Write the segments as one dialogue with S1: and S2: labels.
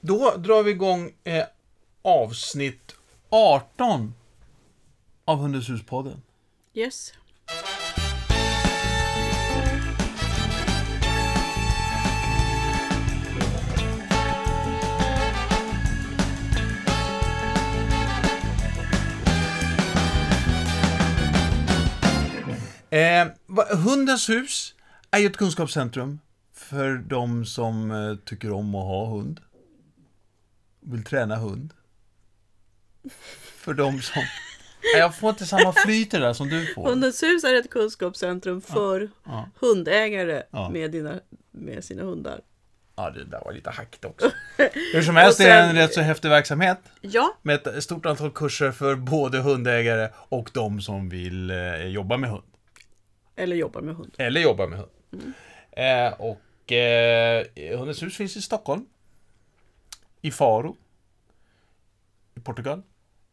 S1: Då drar vi igång eh, avsnitt 18 av Hundens hus-podden.
S2: Yes.
S1: Eh, va- Hundens hus är ju ett kunskapscentrum för de som eh, tycker om att ha hund. Vill träna hund. För de som... Nej, Jag får inte samma flyt i det där som du får.
S2: Hundens hus är ett kunskapscentrum för
S1: Ja.
S2: hundägare
S1: Ja.
S2: med, dina, med sina hundar.
S1: Ja, det där var lite hackigt också. Hur som helst är det en
S2: sen-
S1: rätt så häftig verksamhet.
S2: Ja,
S1: Med ett stort antal kurser för både hundägare och de som vill eh, jobba med hund.
S2: eller jobbar med hund.
S1: Eller jobba med hund. Eh, och eh, Hundens hus finns i Stockholm. I Faro. I Portugal.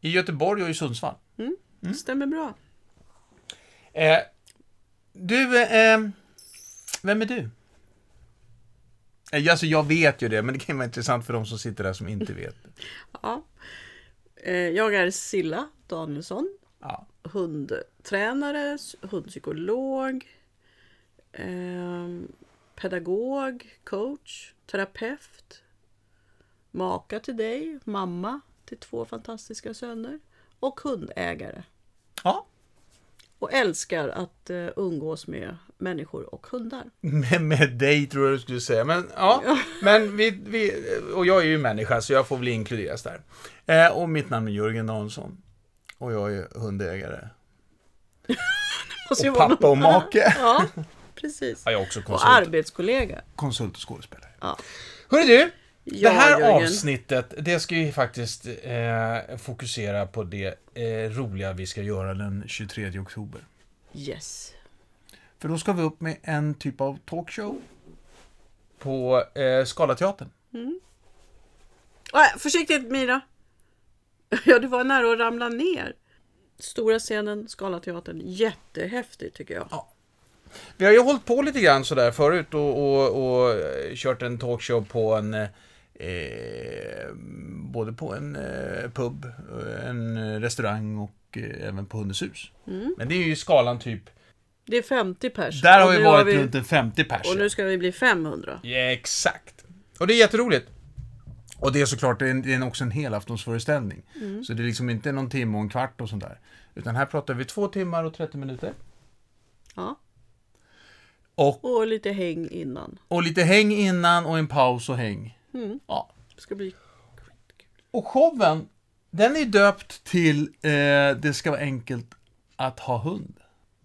S1: I Göteborg och i Sundsvall. Mm.
S2: Stämmer bra.
S1: Eh, du, eh, eh, vem är du? Eh, Alltså jag vet ju det, men det kan ju vara intressant för de som sitter där som inte vet.
S2: Ja. Eh, Jag är Silla Danielsson,
S1: Ja.
S2: hundtränare, s- hundpsykolog, ehm, pedagog, coach, terapeut, maka till dig, mamma till två fantastiska söner och hundägare.
S1: ja.
S2: och älskar att eh, umgås med människor och hundar.
S1: Med, med dig tror jag du skulle säga. Men, ja. Men vi, vi, och jag är ju människa så jag får väl inkluderas där. Eh, och mitt namn är Jörgen Danielsson. Och jag är hundägare.
S2: Måste ju
S1: Och
S2: vara någon-
S1: pappa och make.
S2: Ja, precis.
S1: Ja, jag är också
S2: Och
S1: konsult,
S2: arbetskollega.
S1: konsult och skådespelare.
S2: Ja.
S1: Hörru du!
S2: Ja,
S1: det här
S2: Jörgen.
S1: avsnittet, det ska ju faktiskt eh, fokusera på det eh, roliga vi ska göra den 23 oktober.
S2: Yes.
S1: För då ska vi upp med en typ av talkshow. På eh, Scalateatern.
S2: Äh, försiktigt Mira! Ja, du var nära att ramla ner. Stora scenen, Scalateatern. Jättehäftigt tycker jag.
S1: Vi har ju hållit på lite grann sådär förut och, och, och eh, kört en talkshow på en eh, både på en eh, pub, eh, en restaurang och eh, även på Hundens hus. Men det är ju skalan typ,
S2: Det är 50 pers.
S1: där
S2: Mm. Och
S1: har vi
S2: nu
S1: varit runt en 50
S2: Och
S1: personer.
S2: nu ska vi bli 500.
S1: Ja, exakt. Och det är jätteroligt. Och det är såklart, det är, en, det är också en helaftonsföreställning.
S2: Mm.
S1: Så det är liksom inte någon timme och en kvart och sånt där. Utan här pratar vi två timmar och 30 minuter.
S2: Mm. Ja.
S1: Och,
S2: Och lite häng innan.
S1: och lite häng innan och en paus och häng.
S2: Mm.
S1: Ja.
S2: Det ska bli...
S1: Och showen, den är döpt till eh, Det ska vara enkelt att ha hund.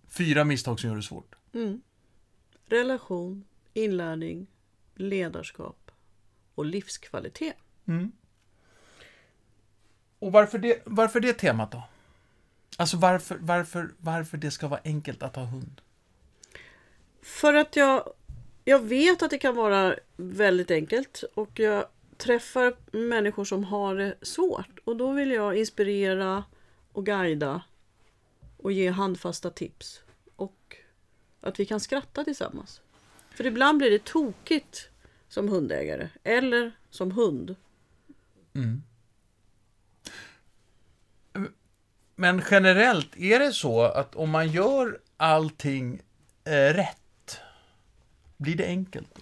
S1: Fyra misstag som gör det svårt.
S2: Relation, inlärning, ledarskap och livskvalitet.
S1: Och varför det, varför det temat då? Alltså varför, varför, varför det ska vara enkelt att ha hund?
S2: För att jag, jag vet att det kan vara väldigt enkelt och jag träffar människor som har det svårt och då vill jag inspirera och guida och ge handfasta tips och att vi kan skratta tillsammans. För ibland blir det tokigt som hundägare eller som hund.
S1: Men generellt, är det så att om man gör allting eh, rätt, blir det enkelt?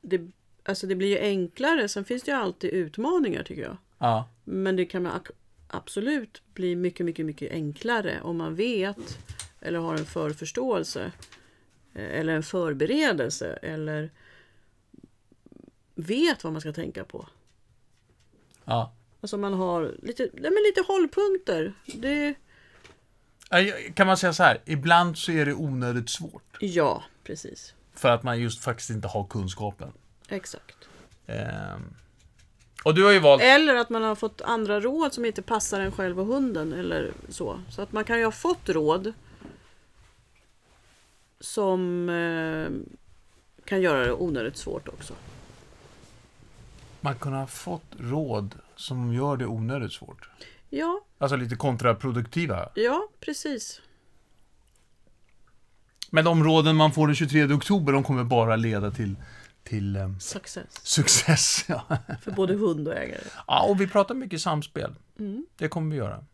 S2: Det, alltså det blir ju enklare, sen finns det ju alltid utmaningar tycker jag.
S1: Ja.
S2: Men det kan ak- absolut bli mycket, mycket, mycket enklare om man vet eller har en förförståelse eh, eller en förberedelse eller vet vad man ska tänka på.
S1: ja.
S2: Alltså man har lite, nej men lite hållpunkter. Det,
S1: Eh, Kan man säga så här, ibland så är det onödigt svårt.
S2: ja, precis.
S1: För att man just faktiskt inte har kunskapen.
S2: Exakt.
S1: Ehm. Och du har ju valt...
S2: Eller att man har fått andra råd som inte passar en själv och hunden eller så. Så att man kan ju ha fått råd som eh, kan göra det onödigt svårt också.
S1: Man kunde ha fått råd som gör det onödigt svårt.
S2: Ja,
S1: Alltså lite kontraproduktiva.
S2: ja precis.
S1: Men de råden man får den 23 oktober, de kommer bara leda till till eh,
S2: Success.
S1: success. Ja.
S2: För både hund och ägare.
S1: ja, och vi pratar mycket samspel.
S2: Mm.
S1: Det kommer vi göra.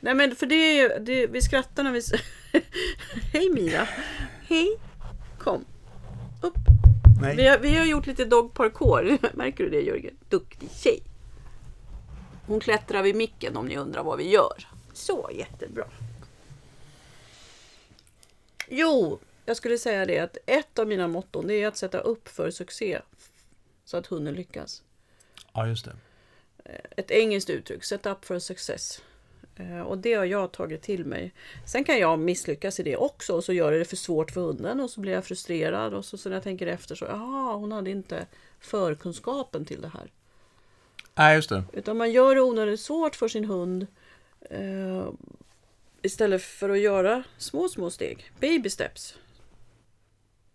S2: Nej men för det är ju, det, vi skrattar när vi s- Hej Mira! Hej! Kom! Upp!
S1: Nej.
S2: Vi har, vi har gjort lite dog parkour. Märker du det Jörgen? Duktig tjej! Hon klättrar vid micken om ni undrar vad vi gör. Så, jättebra! Jo, jag skulle säga det att ett av mina motton det är att sätta upp för succé. Så att hunden lyckas
S1: Ja, just det.
S2: ett engelskt uttryck, set up for success. Eh, Och det har jag tagit till mig. Sen kan jag misslyckas i det också och så gör jag det för svårt för hunden och så blir jag frustrerad och så, så när jag tänker efter så, jaha, hon hade inte förkunskapen till det här.
S1: Nej, just det.
S2: Utan man gör det onödigt svårt för sin hund eh, istället för att göra små, små steg. Baby steps.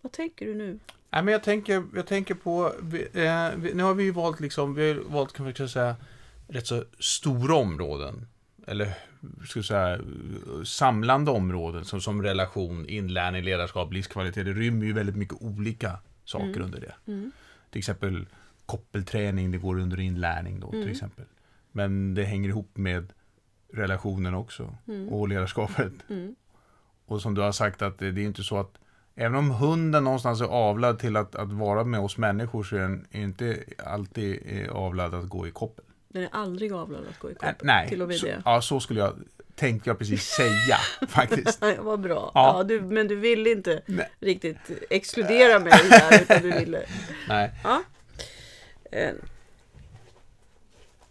S2: Vad tänker du nu?
S1: Nej, men jag tänker, jag tänker på, vi, eh, vi, nu har vi ju valt liksom, vi har ju valt kan man kanske säga rätt så stora områden. Eller ska jag säga, samlande områden som, som relation, inlärning, ledarskap, livskvalitet. Det rymmer ju väldigt mycket olika saker under det. Till exempel koppelträning, det går under inlärning då till exempel. Men det hänger ihop med relationen också och ledarskapet. Och som du har sagt att det, det är inte så att Även om hunden någonstans är avlad till att, att vara med oss människor så är den inte alltid eh, avlad att gå i koppel.
S2: Den är aldrig avlad att gå i
S1: Äh,
S2: koppel.
S1: nej,
S2: Till och med
S1: så,
S2: det.
S1: ja, så skulle jag, tänkte jag precis säga faktiskt.
S2: Nej, Vad bra. Ja.
S1: Ja.
S2: du, men du ville inte
S1: Nej.
S2: riktigt exkludera mig här, utan du ville...
S1: Nej,
S2: Ja. Eh,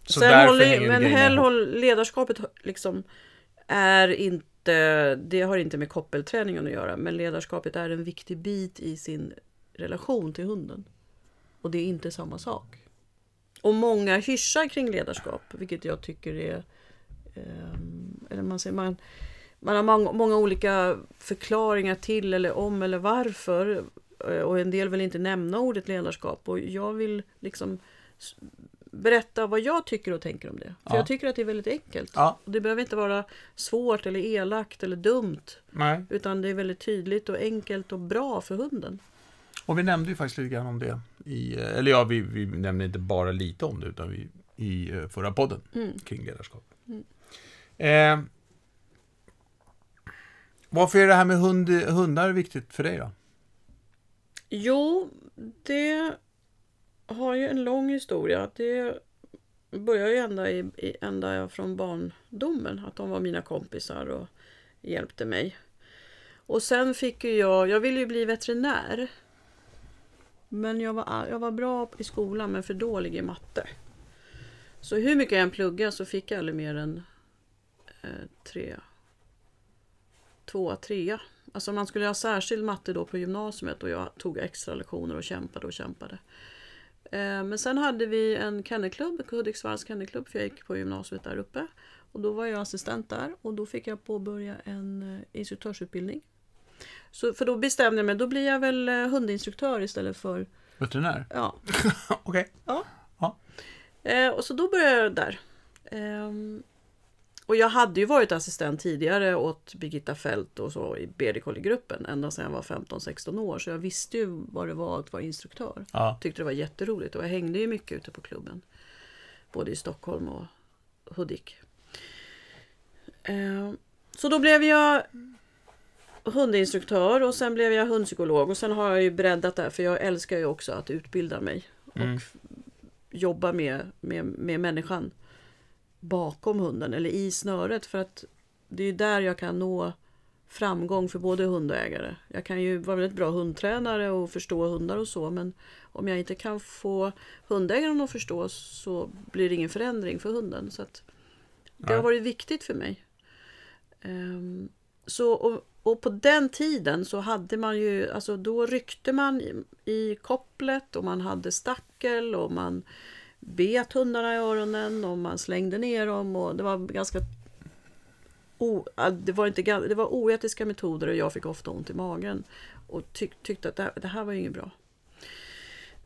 S1: så
S2: Sen
S1: därför
S2: håller,
S1: hänger
S2: men
S1: grejerna
S2: Hell,
S1: ihop.
S2: håll, ledarskapet liksom är inte, det har inte med koppelträningen att göra, men ledarskapet är en viktig bit i sin relation till hunden. Och det är inte samma sak. Och många hyschar kring ledarskap, vilket jag tycker är... ehm, eller man säger, man, man har många, många olika förklaringar till eller om eller varför. eh, Och en del vill inte nämna ordet ledarskap. Och jag vill liksom s- berätta vad jag tycker och tänker om det. För
S1: Ja.
S2: jag tycker att det är väldigt enkelt.
S1: Ja.
S2: Och det behöver inte vara svårt eller elakt eller dumt.
S1: Nej,
S2: Utan det är väldigt tydligt och enkelt och bra för hunden.
S1: och vi nämnde ju faktiskt lite grann om det. I, eh, eller ja, vi, vi nämnde inte bara lite om det utan vi, i eh, förra podden
S2: Mm.
S1: kring ledarskap. Eh, varför är det här med hund, hundar viktigt för dig då?
S2: Jo, det har ju en lång historia. Det börjar ju ända, i, i, ända från barndomen, att de var mina kompisar och hjälpte mig. Och sen fick ju jag, jag ville ju bli veterinär. Men jag var, jag var bra i skolan men för dålig i matte. Så hur mycket jag än pluggade så fick jag aldrig mer än eh, tre, tvåa, trea. Alltså man skulle ha särskild matte då på gymnasiet och jag tog extra lektioner och kämpade och kämpade. Eh, Men sen hade vi en kennelklubb, Hudiksvalls kennelklubb, för jag gick på gymnasiet där uppe. Och då var jag assistent där och då fick jag påbörja en eh, instruktörsutbildning. Så, för då bestämde jag mig, då blir jag väl eh, hundinstruktör istället för,
S1: Veterinär?
S2: ja,
S1: Okej.
S2: Ja.
S1: Ja.
S2: Eh, och så då började jag där. Ehm, och jag hade ju varit assistent tidigare åt Birgitta Fält och så i BD-kollegruppen ända sedan jag var 15-16 år. Så jag visste ju vad det var att vara instruktör.
S1: Ja.
S2: Tyckte det var jätteroligt och jag hängde ju mycket ute på klubben. Både i Stockholm och Hudik. Ehm, så då blev jag hundinstruktör och sen blev jag hundpsykolog och sen har jag ju breddat det här, för jag älskar ju också att utbilda mig och
S1: Mm.
S2: f- jobba med, med, med människan bakom hunden eller i snöret för att det är ju där jag kan nå framgång för både hund och ägare. Jag kan ju vara väldigt bra hundtränare och förstå hundar och så men om jag inte kan få hundägaren att förstå så blir det ingen förändring för hunden. Så att det har
S1: Nej.
S2: varit viktigt för mig. Ehm, så, och, och på den tiden så hade man ju, alltså då ryckte man i, i kopplet och man hade stackel och man bet hundarna i öronen och man slängde ner dem och det var ganska o, ja, det, var inte, gan- det var oetiska metoder och jag fick ofta ont i magen och tyck, tyckte att det här, det här var ju inget bra.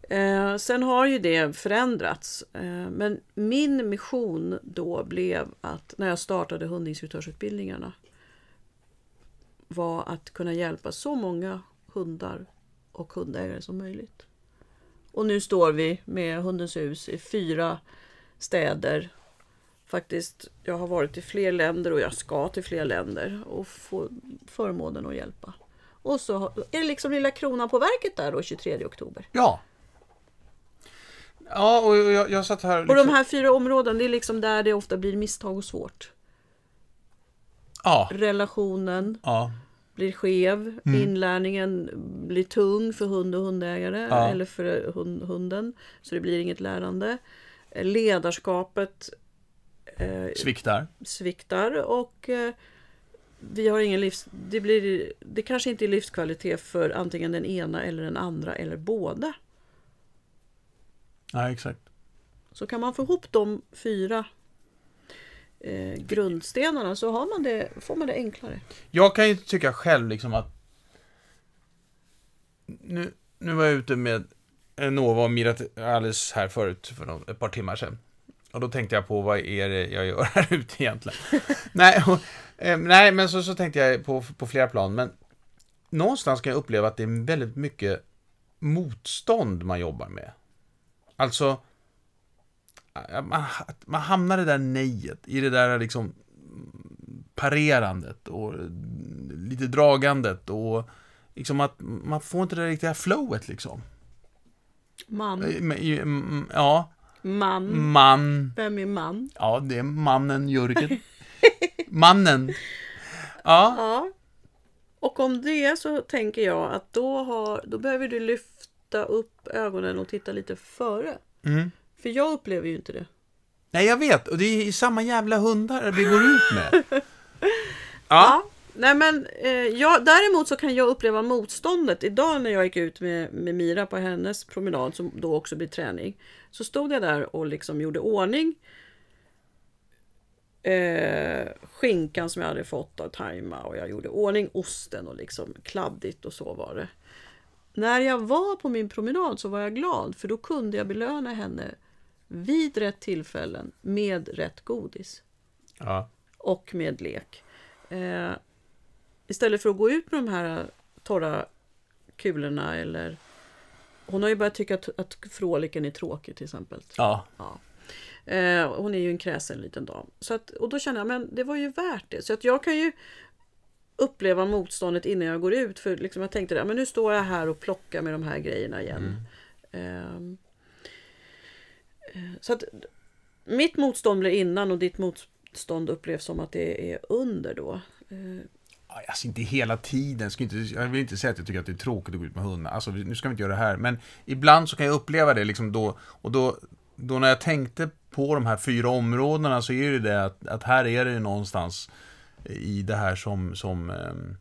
S2: Eh, sen har ju det förändrats. Eh, men min mission då blev att när jag startade hundinstruktörsutbildningarna var att kunna hjälpa så många hundar och hundägare som möjligt. Och nu står vi med Hundens hus i fyra städer. Faktiskt, jag har varit i fler länder och jag ska till fler länder och få förmånen att hjälpa. Och så har- är det liksom lilla kronan på verket där då 23 oktober.
S1: Ja. Ja, och jag, jag satt här...
S2: Och
S1: liksom-
S2: de här fyra områden, det är liksom där det ofta blir misstag och svårt.
S1: Ja.
S2: Relationen
S1: Ja.
S2: blir skev, inlärningen blir tung för hund och hundägare
S1: Ja.
S2: eller för hund, hunden, så det blir inget lärande. Eh, Ledarskapet eh,
S1: Sviktar.
S2: sviktar och eh, vi har ingen livs... Det, blir, det kanske inte är livskvalitet för antingen den ena eller den andra eller båda.
S1: Nej, exakt.
S2: Så kan man få ihop de fyra eh, grundstenarna så har man det, får man det enklare.
S1: Jag kan ju tycka själv liksom att... Nu, nu var jag ute med Nova och Mirat alldeles här förut, för någon, ett par timmar sedan. Och då tänkte jag på, vad är det jag gör här ute egentligen? nej, och, eh, nej, men så, så tänkte jag på, på flera plan, men någonstans kan jag uppleva att det är väldigt mycket motstånd man jobbar med. Alltså, eh, man, att man hamnar i det där nejet, i det där liksom parerandet och lite dragandet och liksom att man får inte det riktiga flowet liksom.
S2: Man,
S1: Eh, men, ju, mm, Ja, Mm.
S2: man,
S1: man.
S2: vem är man?
S1: Ja, det är mannen Jörgen. Mannen. Ja,
S2: Ja. Och om det så tänker jag att då, har, då behöver du lyfta upp ögonen och titta lite före.
S1: Mm.
S2: För jag upplever ju inte det.
S1: nej jag vet. Och det är samma jävla hundar vi går ut med. Ja,
S2: Ja. Nej men eh, jag, däremot så kan jag uppleva motståndet. Idag när jag gick ut med, med Mira på hennes promenad som då också blir träning. Så stod jag där och liksom gjorde ordning. Eh, skinkan som jag hade fått av Taima och jag gjorde ordning osten och liksom kladdigt och så var det. När jag var på min promenad så var jag glad för då kunde jag belöna henne vid rätt tillfällen med rätt godis
S1: ja.
S2: och med lek. Eh, istället för att gå ut med de här torra kulorna eller... Hon har ju börjat tycka att, att fråliken är tråkig till exempel.
S1: ja.
S2: Ja. Eh, hon är ju en kräsen liten dam. Så att, och då känner jag, men det var ju värt det. Så att jag kan ju uppleva motståndet innan jag går ut. För liksom jag tänkte, det, men nu står jag här och plockar med de här grejerna igen.
S1: Mm.
S2: Ehm, Eh, så att mitt motstånd blir innan och ditt motstånd upplevs som att det är under då. Eh,
S1: Aj, Alltså inte hela tiden, ska inte, jag vill inte säga att jag tycker att det är tråkigt att gå ut med hundar. Alltså vi- nu ska vi inte göra det här. Men ibland så kan jag uppleva det liksom då, och då, då när jag tänkte på de här fyra områdena så är det det att, att här är det ju någonstans i det här som, som, ehm,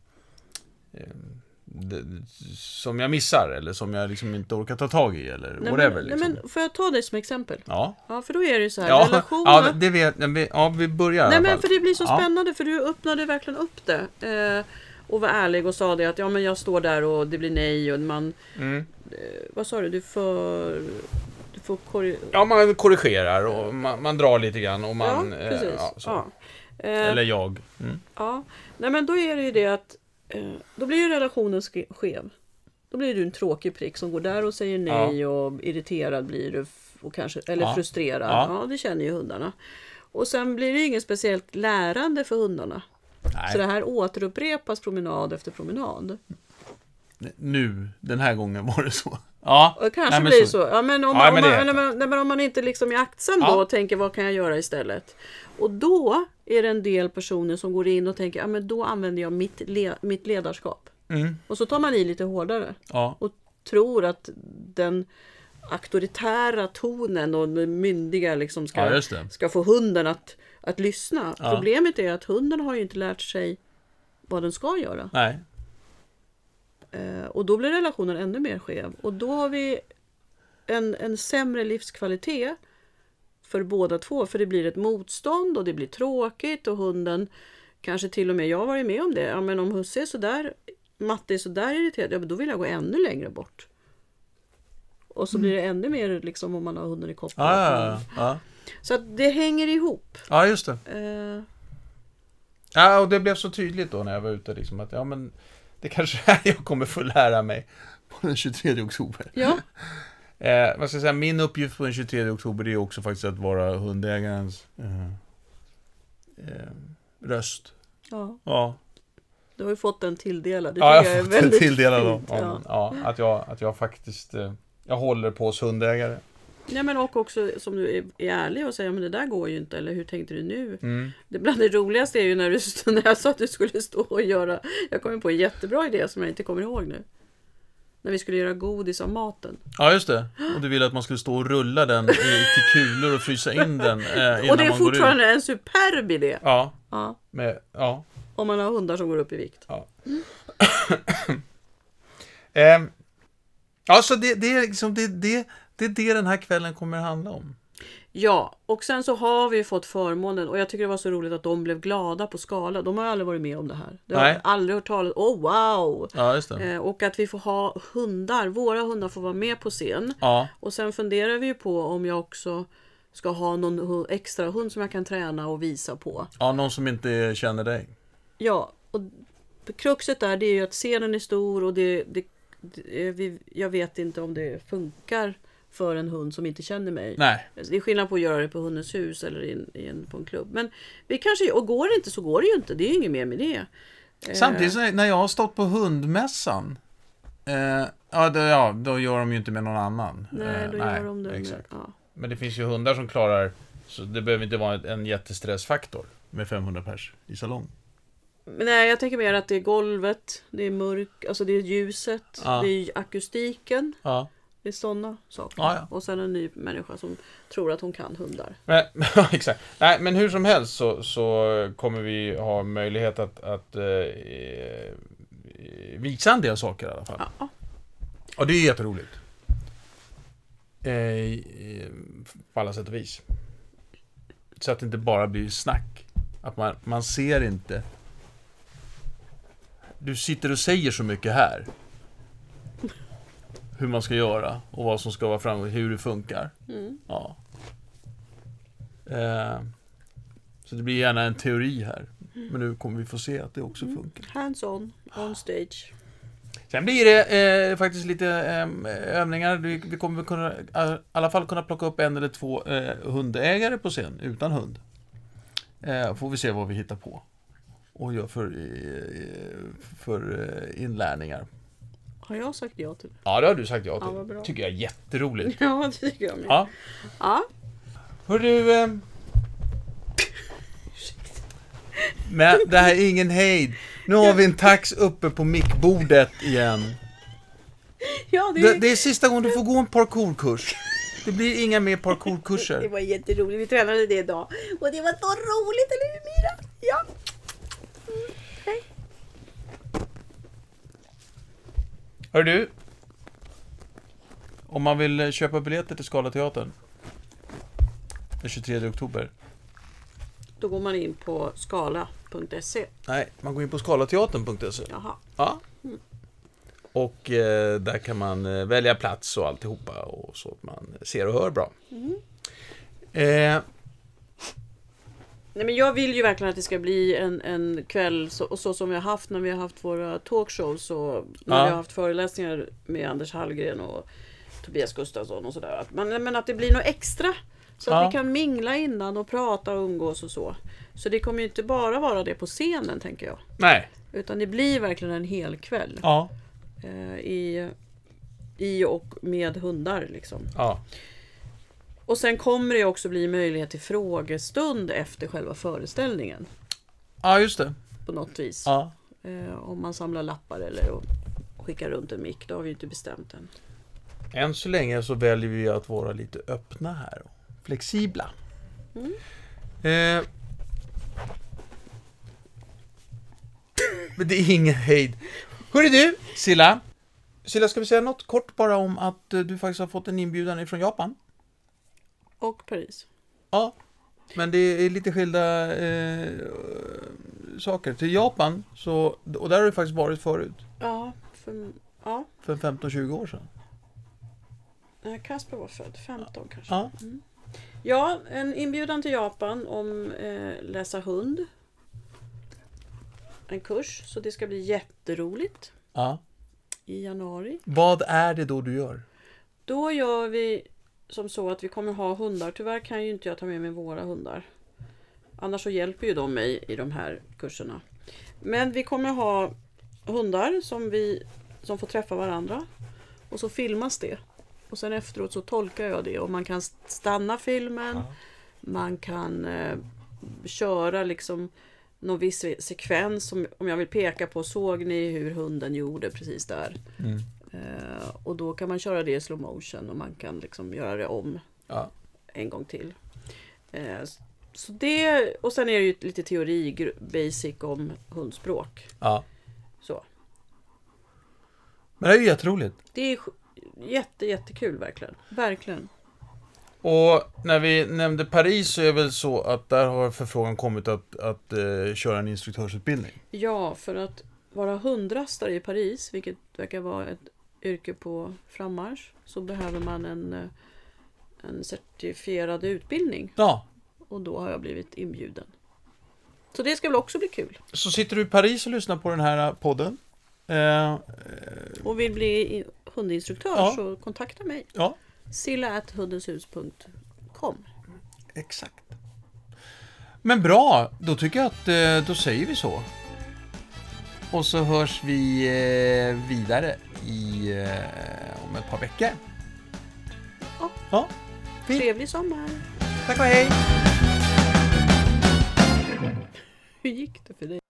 S1: ehm, det- som jag missar eller som jag liksom inte orkar ta tag i eller
S2: nej,
S1: whatever.
S2: men,
S1: liksom.
S2: nej, men får jag ta dig som exempel?
S1: ja.
S2: Ja, för då är det ju så här,
S1: Ja,
S2: relationer...
S1: ja, det vet ja, vi, ja, vi börjar
S2: Nej
S1: i alla
S2: men
S1: fall.
S2: för det blir så
S1: Ja.
S2: spännande för du öppnade verkligen upp det. Eh, och var ärlig och sa det att ja men jag står där och det blir nej och man...
S1: Mm.
S2: Eh, vad sa du? Du får... Du får korri-
S1: Ja, man korrigerar och man, man drar lite grann och man... eh,
S2: precis.
S1: ja, så.
S2: Ja. Eh,
S1: Eller jag. Mm.
S2: ja. Nej men då är det ju det att... Eh, då blir ju relationen ske- skev. Då blir du en tråkig prick som går där och säger nej och irriterad blir du. f- Och kanske, eller
S1: Ja.
S2: frustrerad.
S1: Ja.
S2: Ja. det känner ju hundarna. Och sen blir det ju inget speciellt lärande för hundarna. Så det
S1: Nej,
S2: här återupprepas promenad efter promenad.
S1: nu, den här gången var det så. Ja,
S2: Och kanske
S1: Nej, men
S2: blir
S1: så-
S2: så. Ja, men om,
S1: Ja,
S2: man-
S1: men
S2: om,
S1: det är
S2: man,
S1: helt
S2: nej, men, nej, men om man inte liksom är aktsam
S1: Ja.
S2: då och tänker vad kan jag göra istället? Och då är det en del personer som går in och tänker ja, men då använder jag mitt, le, mitt ledarskap.
S1: mm,
S2: Och så tar man i lite hårdare
S1: ja.
S2: och tror att den auktoritära tonen och den myndiga liksom ska,
S1: ja, just det.
S2: ska få hunden att, att lyssna.
S1: Ja.
S2: Problemet är att hunden har ju inte lärt sig vad den ska göra.
S1: Nej,
S2: Eh, och då blir relationen ännu mer skev. Och då har vi en, en sämre livskvalitet för båda två. För det blir ett motstånd och det blir tråkigt och hunden kanske till och med, jag har varit med om det, ja men om husse är sådär, matte är sådär irriterad, ja men då vill jag gå ännu längre bort. Och så blir det ännu mer liksom om man har hunden i kopplingen.
S1: ja, ja, ja.
S2: Så att det hänger ihop.
S1: ja just det.
S2: Eh,
S1: Ja, och det blev så tydligt då när jag var ute liksom att ja, men det kanske är här jag kommer få lära mig på den 23 oktober.
S2: Ja,
S1: Eh, vad ska jag säga, min uppgift på den 23 oktober är också faktiskt att vara hundägarens eh, eh, röst.
S2: ja.
S1: Ja,
S2: Du har ju fått den tilldelad. Det
S1: ja jag
S2: tycker
S1: har
S2: jag är
S1: fått en
S2: väldigt
S1: tilldelad av,
S2: fint,
S1: ja. Ja, att, jag, att jag faktiskt eh, jag håller på oss hundägare.
S2: Ja, men och också som du är, är ärlig och säger men det där går ju inte eller hur tänkte du nu?
S1: Mm.
S2: Det bland det roligaste är ju när, du, när jag sa att du skulle stå och göra Jag kom ju på en jättebra idé som jag inte kommer ihåg nu. När vi skulle göra godis av maten.
S1: Ja, just det. Och du ville att man skulle stå och rulla den i, till kulor och frysa in den eh, innan
S2: Och det
S1: man går
S2: är
S1: ut.
S2: fortfarande en superb idé!
S1: Ja,
S2: Ja,
S1: med, ja.
S2: om man har hundar som går upp i vikt.
S1: Ehm, ja, så det, det är liksom det, det, det är det den här kvällen kommer handla om.
S2: Ja, och sen så har vi ju fått förmånen och jag tycker det var så roligt att de blev glada på Skala. De har ju aldrig varit med om det här. De har
S1: Nej.
S2: aldrig hört talas Oh wow!
S1: Ja, just det.
S2: Eh, Och att vi får ha hundar, våra hundar får vara med på scen.
S1: Ja,
S2: Och sen funderar vi ju på om jag också ska ha någon hu- extra hund som jag kan träna och visa på.
S1: ja, någon som inte känner dig.
S2: Ja, och kruxet där det är ju att scenen är stor och det, det, det eh, vi, jag vet inte om det funkar för en hund som inte känner mig.
S1: Nej.
S2: Det är skillnad på att göra det på Hundens hus eller i en, i en, på en klubb. Men vi kanske, och går det inte så går det ju inte. Det är ju inget mer med det.
S1: Eh. Samtidigt så när jag har stått på hundmässan eh, ja, då, ja, då gör de ju inte med någon annan.
S2: Nej,
S1: Eh,
S2: då gör de det. med-
S1: Exakt.
S2: Ja.
S1: Men det finns ju hundar som klarar, så det behöver inte vara en jättestressfaktor med 500 pers i salong.
S2: Men nej, jag tänker mer att det är golvet, det är mörk, alltså det är ljuset,
S1: Ja.
S2: det är akustiken.
S1: Ja,
S2: Det är sådana saker.
S1: Ja, ja.
S2: Och sen en ny människa som tror att hon kan hundar.
S1: men, exakt. Nej, men hur som helst så, så kommer vi ha möjlighet att, att eh, eh, visa en del saker i alla fall.
S2: Ja.
S1: Och det är jätteroligt. Eh, eh, på alla sätt och vis. Så att det inte bara blir snack. Att man, man ser inte. Du sitter och säger så mycket här. Hur man ska göra och vad som ska vara framgångsrikt, hur det funkar.
S2: Mm.
S1: Ja. Eh, så det blir gärna en teori här. Men nu kommer vi få se att det också
S2: Mm.
S1: funkar.
S2: Hands on, on stage.
S1: Sen blir det eh, faktiskt lite eh, övningar. Vi, vi kommer kunna, i alla fall kunna plocka upp en eller två eh, hundägare på scen utan hund. Eh, får vi se vad vi hittar på och gör för, eh, för eh, inlärningar.
S2: Har jag sagt ja till det?
S1: Ja, det har du sagt ja
S2: Ja, vad bra.
S1: tycker jag är jätteroligt.
S2: Ja, det tycker jag med.
S1: Ja.
S2: Ja.
S1: Hör du... Eh... Men det här är ingen hejd. Nu har vi en tax uppe på mickbordet igen.
S2: ja, det,
S1: Det, det är sista gången du får gå en parkourkurs. Det blir inga mer
S2: det
S1: parkourkurser.
S2: var jätteroligt. Vi tränade det idag. Och det var så roligt, eller hur Mira? Ja.
S1: Hör du? Om man vill eh, köpa biljetter till Skala teatern den 23 oktober.
S2: Då går man in på skala.se.
S1: Nej, man går in på skalateatern.se.
S2: E. Jaha.
S1: Ja. Och eh, där kan man eh, välja plats och alltihopa och så att man ser och hör bra. Eh,
S2: Nej, men jag vill ju verkligen att det ska bli en, en kväll så, och så som vi har haft när vi har haft våra talkshows och när
S1: Ja.
S2: vi har haft föreläsningar med Anders Hallgren och Tobias Gustafsson och sådär. Att, men, men att det blir något extra. Så
S1: Ja.
S2: att vi kan mingla innan och prata och umgås och så. Så det kommer ju inte bara vara det på scenen tänker jag.
S1: nej.
S2: Utan det blir verkligen en hel kväll.
S1: Ja.
S2: Eh, i, I och med hundar liksom.
S1: ja.
S2: Och sen kommer det också bli möjlighet till frågestund efter själva föreställningen.
S1: Ja, just det.
S2: På något vis.
S1: Ja.
S2: Eh, om man samlar lappar eller och skickar runt en mick. Det har vi ju inte bestämt än.
S1: Än så länge så väljer vi att vara lite öppna här och flexibla. Mm. Eh, men det är ingen hejd. Hörru du, Silla. Silla, ska vi säga något kort bara om att eh, du faktiskt har fått en inbjudan ifrån Japan?
S2: Och Paris.
S1: Ja, men det är lite skilda eh, saker. Till Japan, så, och där har du faktiskt varit förut,
S2: Ja, för, ja.
S1: för 15-20 år sedan.
S2: När Kasper var född, 15 kanske. Mm.
S1: Ja,
S2: Ja, en inbjudan till Japan om eh, läsa hund. En kurs, så det ska bli jätteroligt.
S1: ja,
S2: i januari.
S1: Vad är det då du gör?
S2: Då gör vi som så att vi kommer ha hundar. Tyvärr kan ju inte jag ta med mig våra hundar. Annars så hjälper ju de mig i de här kurserna. Men vi kommer ha hundar som, vi, som får träffa varandra. Och så filmas det. Och sen efteråt så tolkar jag det och man kan stanna filmen. Man kan eh, köra liksom någon viss sekvens. Som, om jag vill peka på, såg ni hur hunden gjorde precis där?
S1: Mm.
S2: Eh, och då kan man köra det i slow motion och man kan liksom göra det om
S1: Ja.
S2: en gång till. Eh, s- så det, och sen är det ju lite teori, gr- basic om hundspråk.
S1: ja.
S2: Så.
S1: Men det är ju jätteroligt.
S2: Det är sj- jätte, jättekul verkligen. Verkligen.
S1: Och när vi nämnde Paris så är det väl så att där har förfrågan kommit att, att eh, köra en instruktörsutbildning.
S2: Ja, för att vara hundrastare i Paris, vilket verkar vara ett yrke på frammarsch, så behöver man en, eh, en certifierad utbildning.
S1: Ja,
S2: Och då har jag blivit inbjuden. Så det ska väl också bli kul.
S1: så sitter du i Paris och lyssnar på den här podden. Eh,
S2: och vill bli i- hundinstruktör
S1: Ja.
S2: så kontakta mig.
S1: ja,
S2: silla.hundenshus.com
S1: exakt. Men bra, då tycker jag att eh, då säger vi så. Och så hörs vi eh, vidare i, eh, om ett par veckor.
S2: Ja.
S1: ja. Fint.
S2: Trevlig sommar!
S1: Tack och hej!
S2: Hur gick det för dig?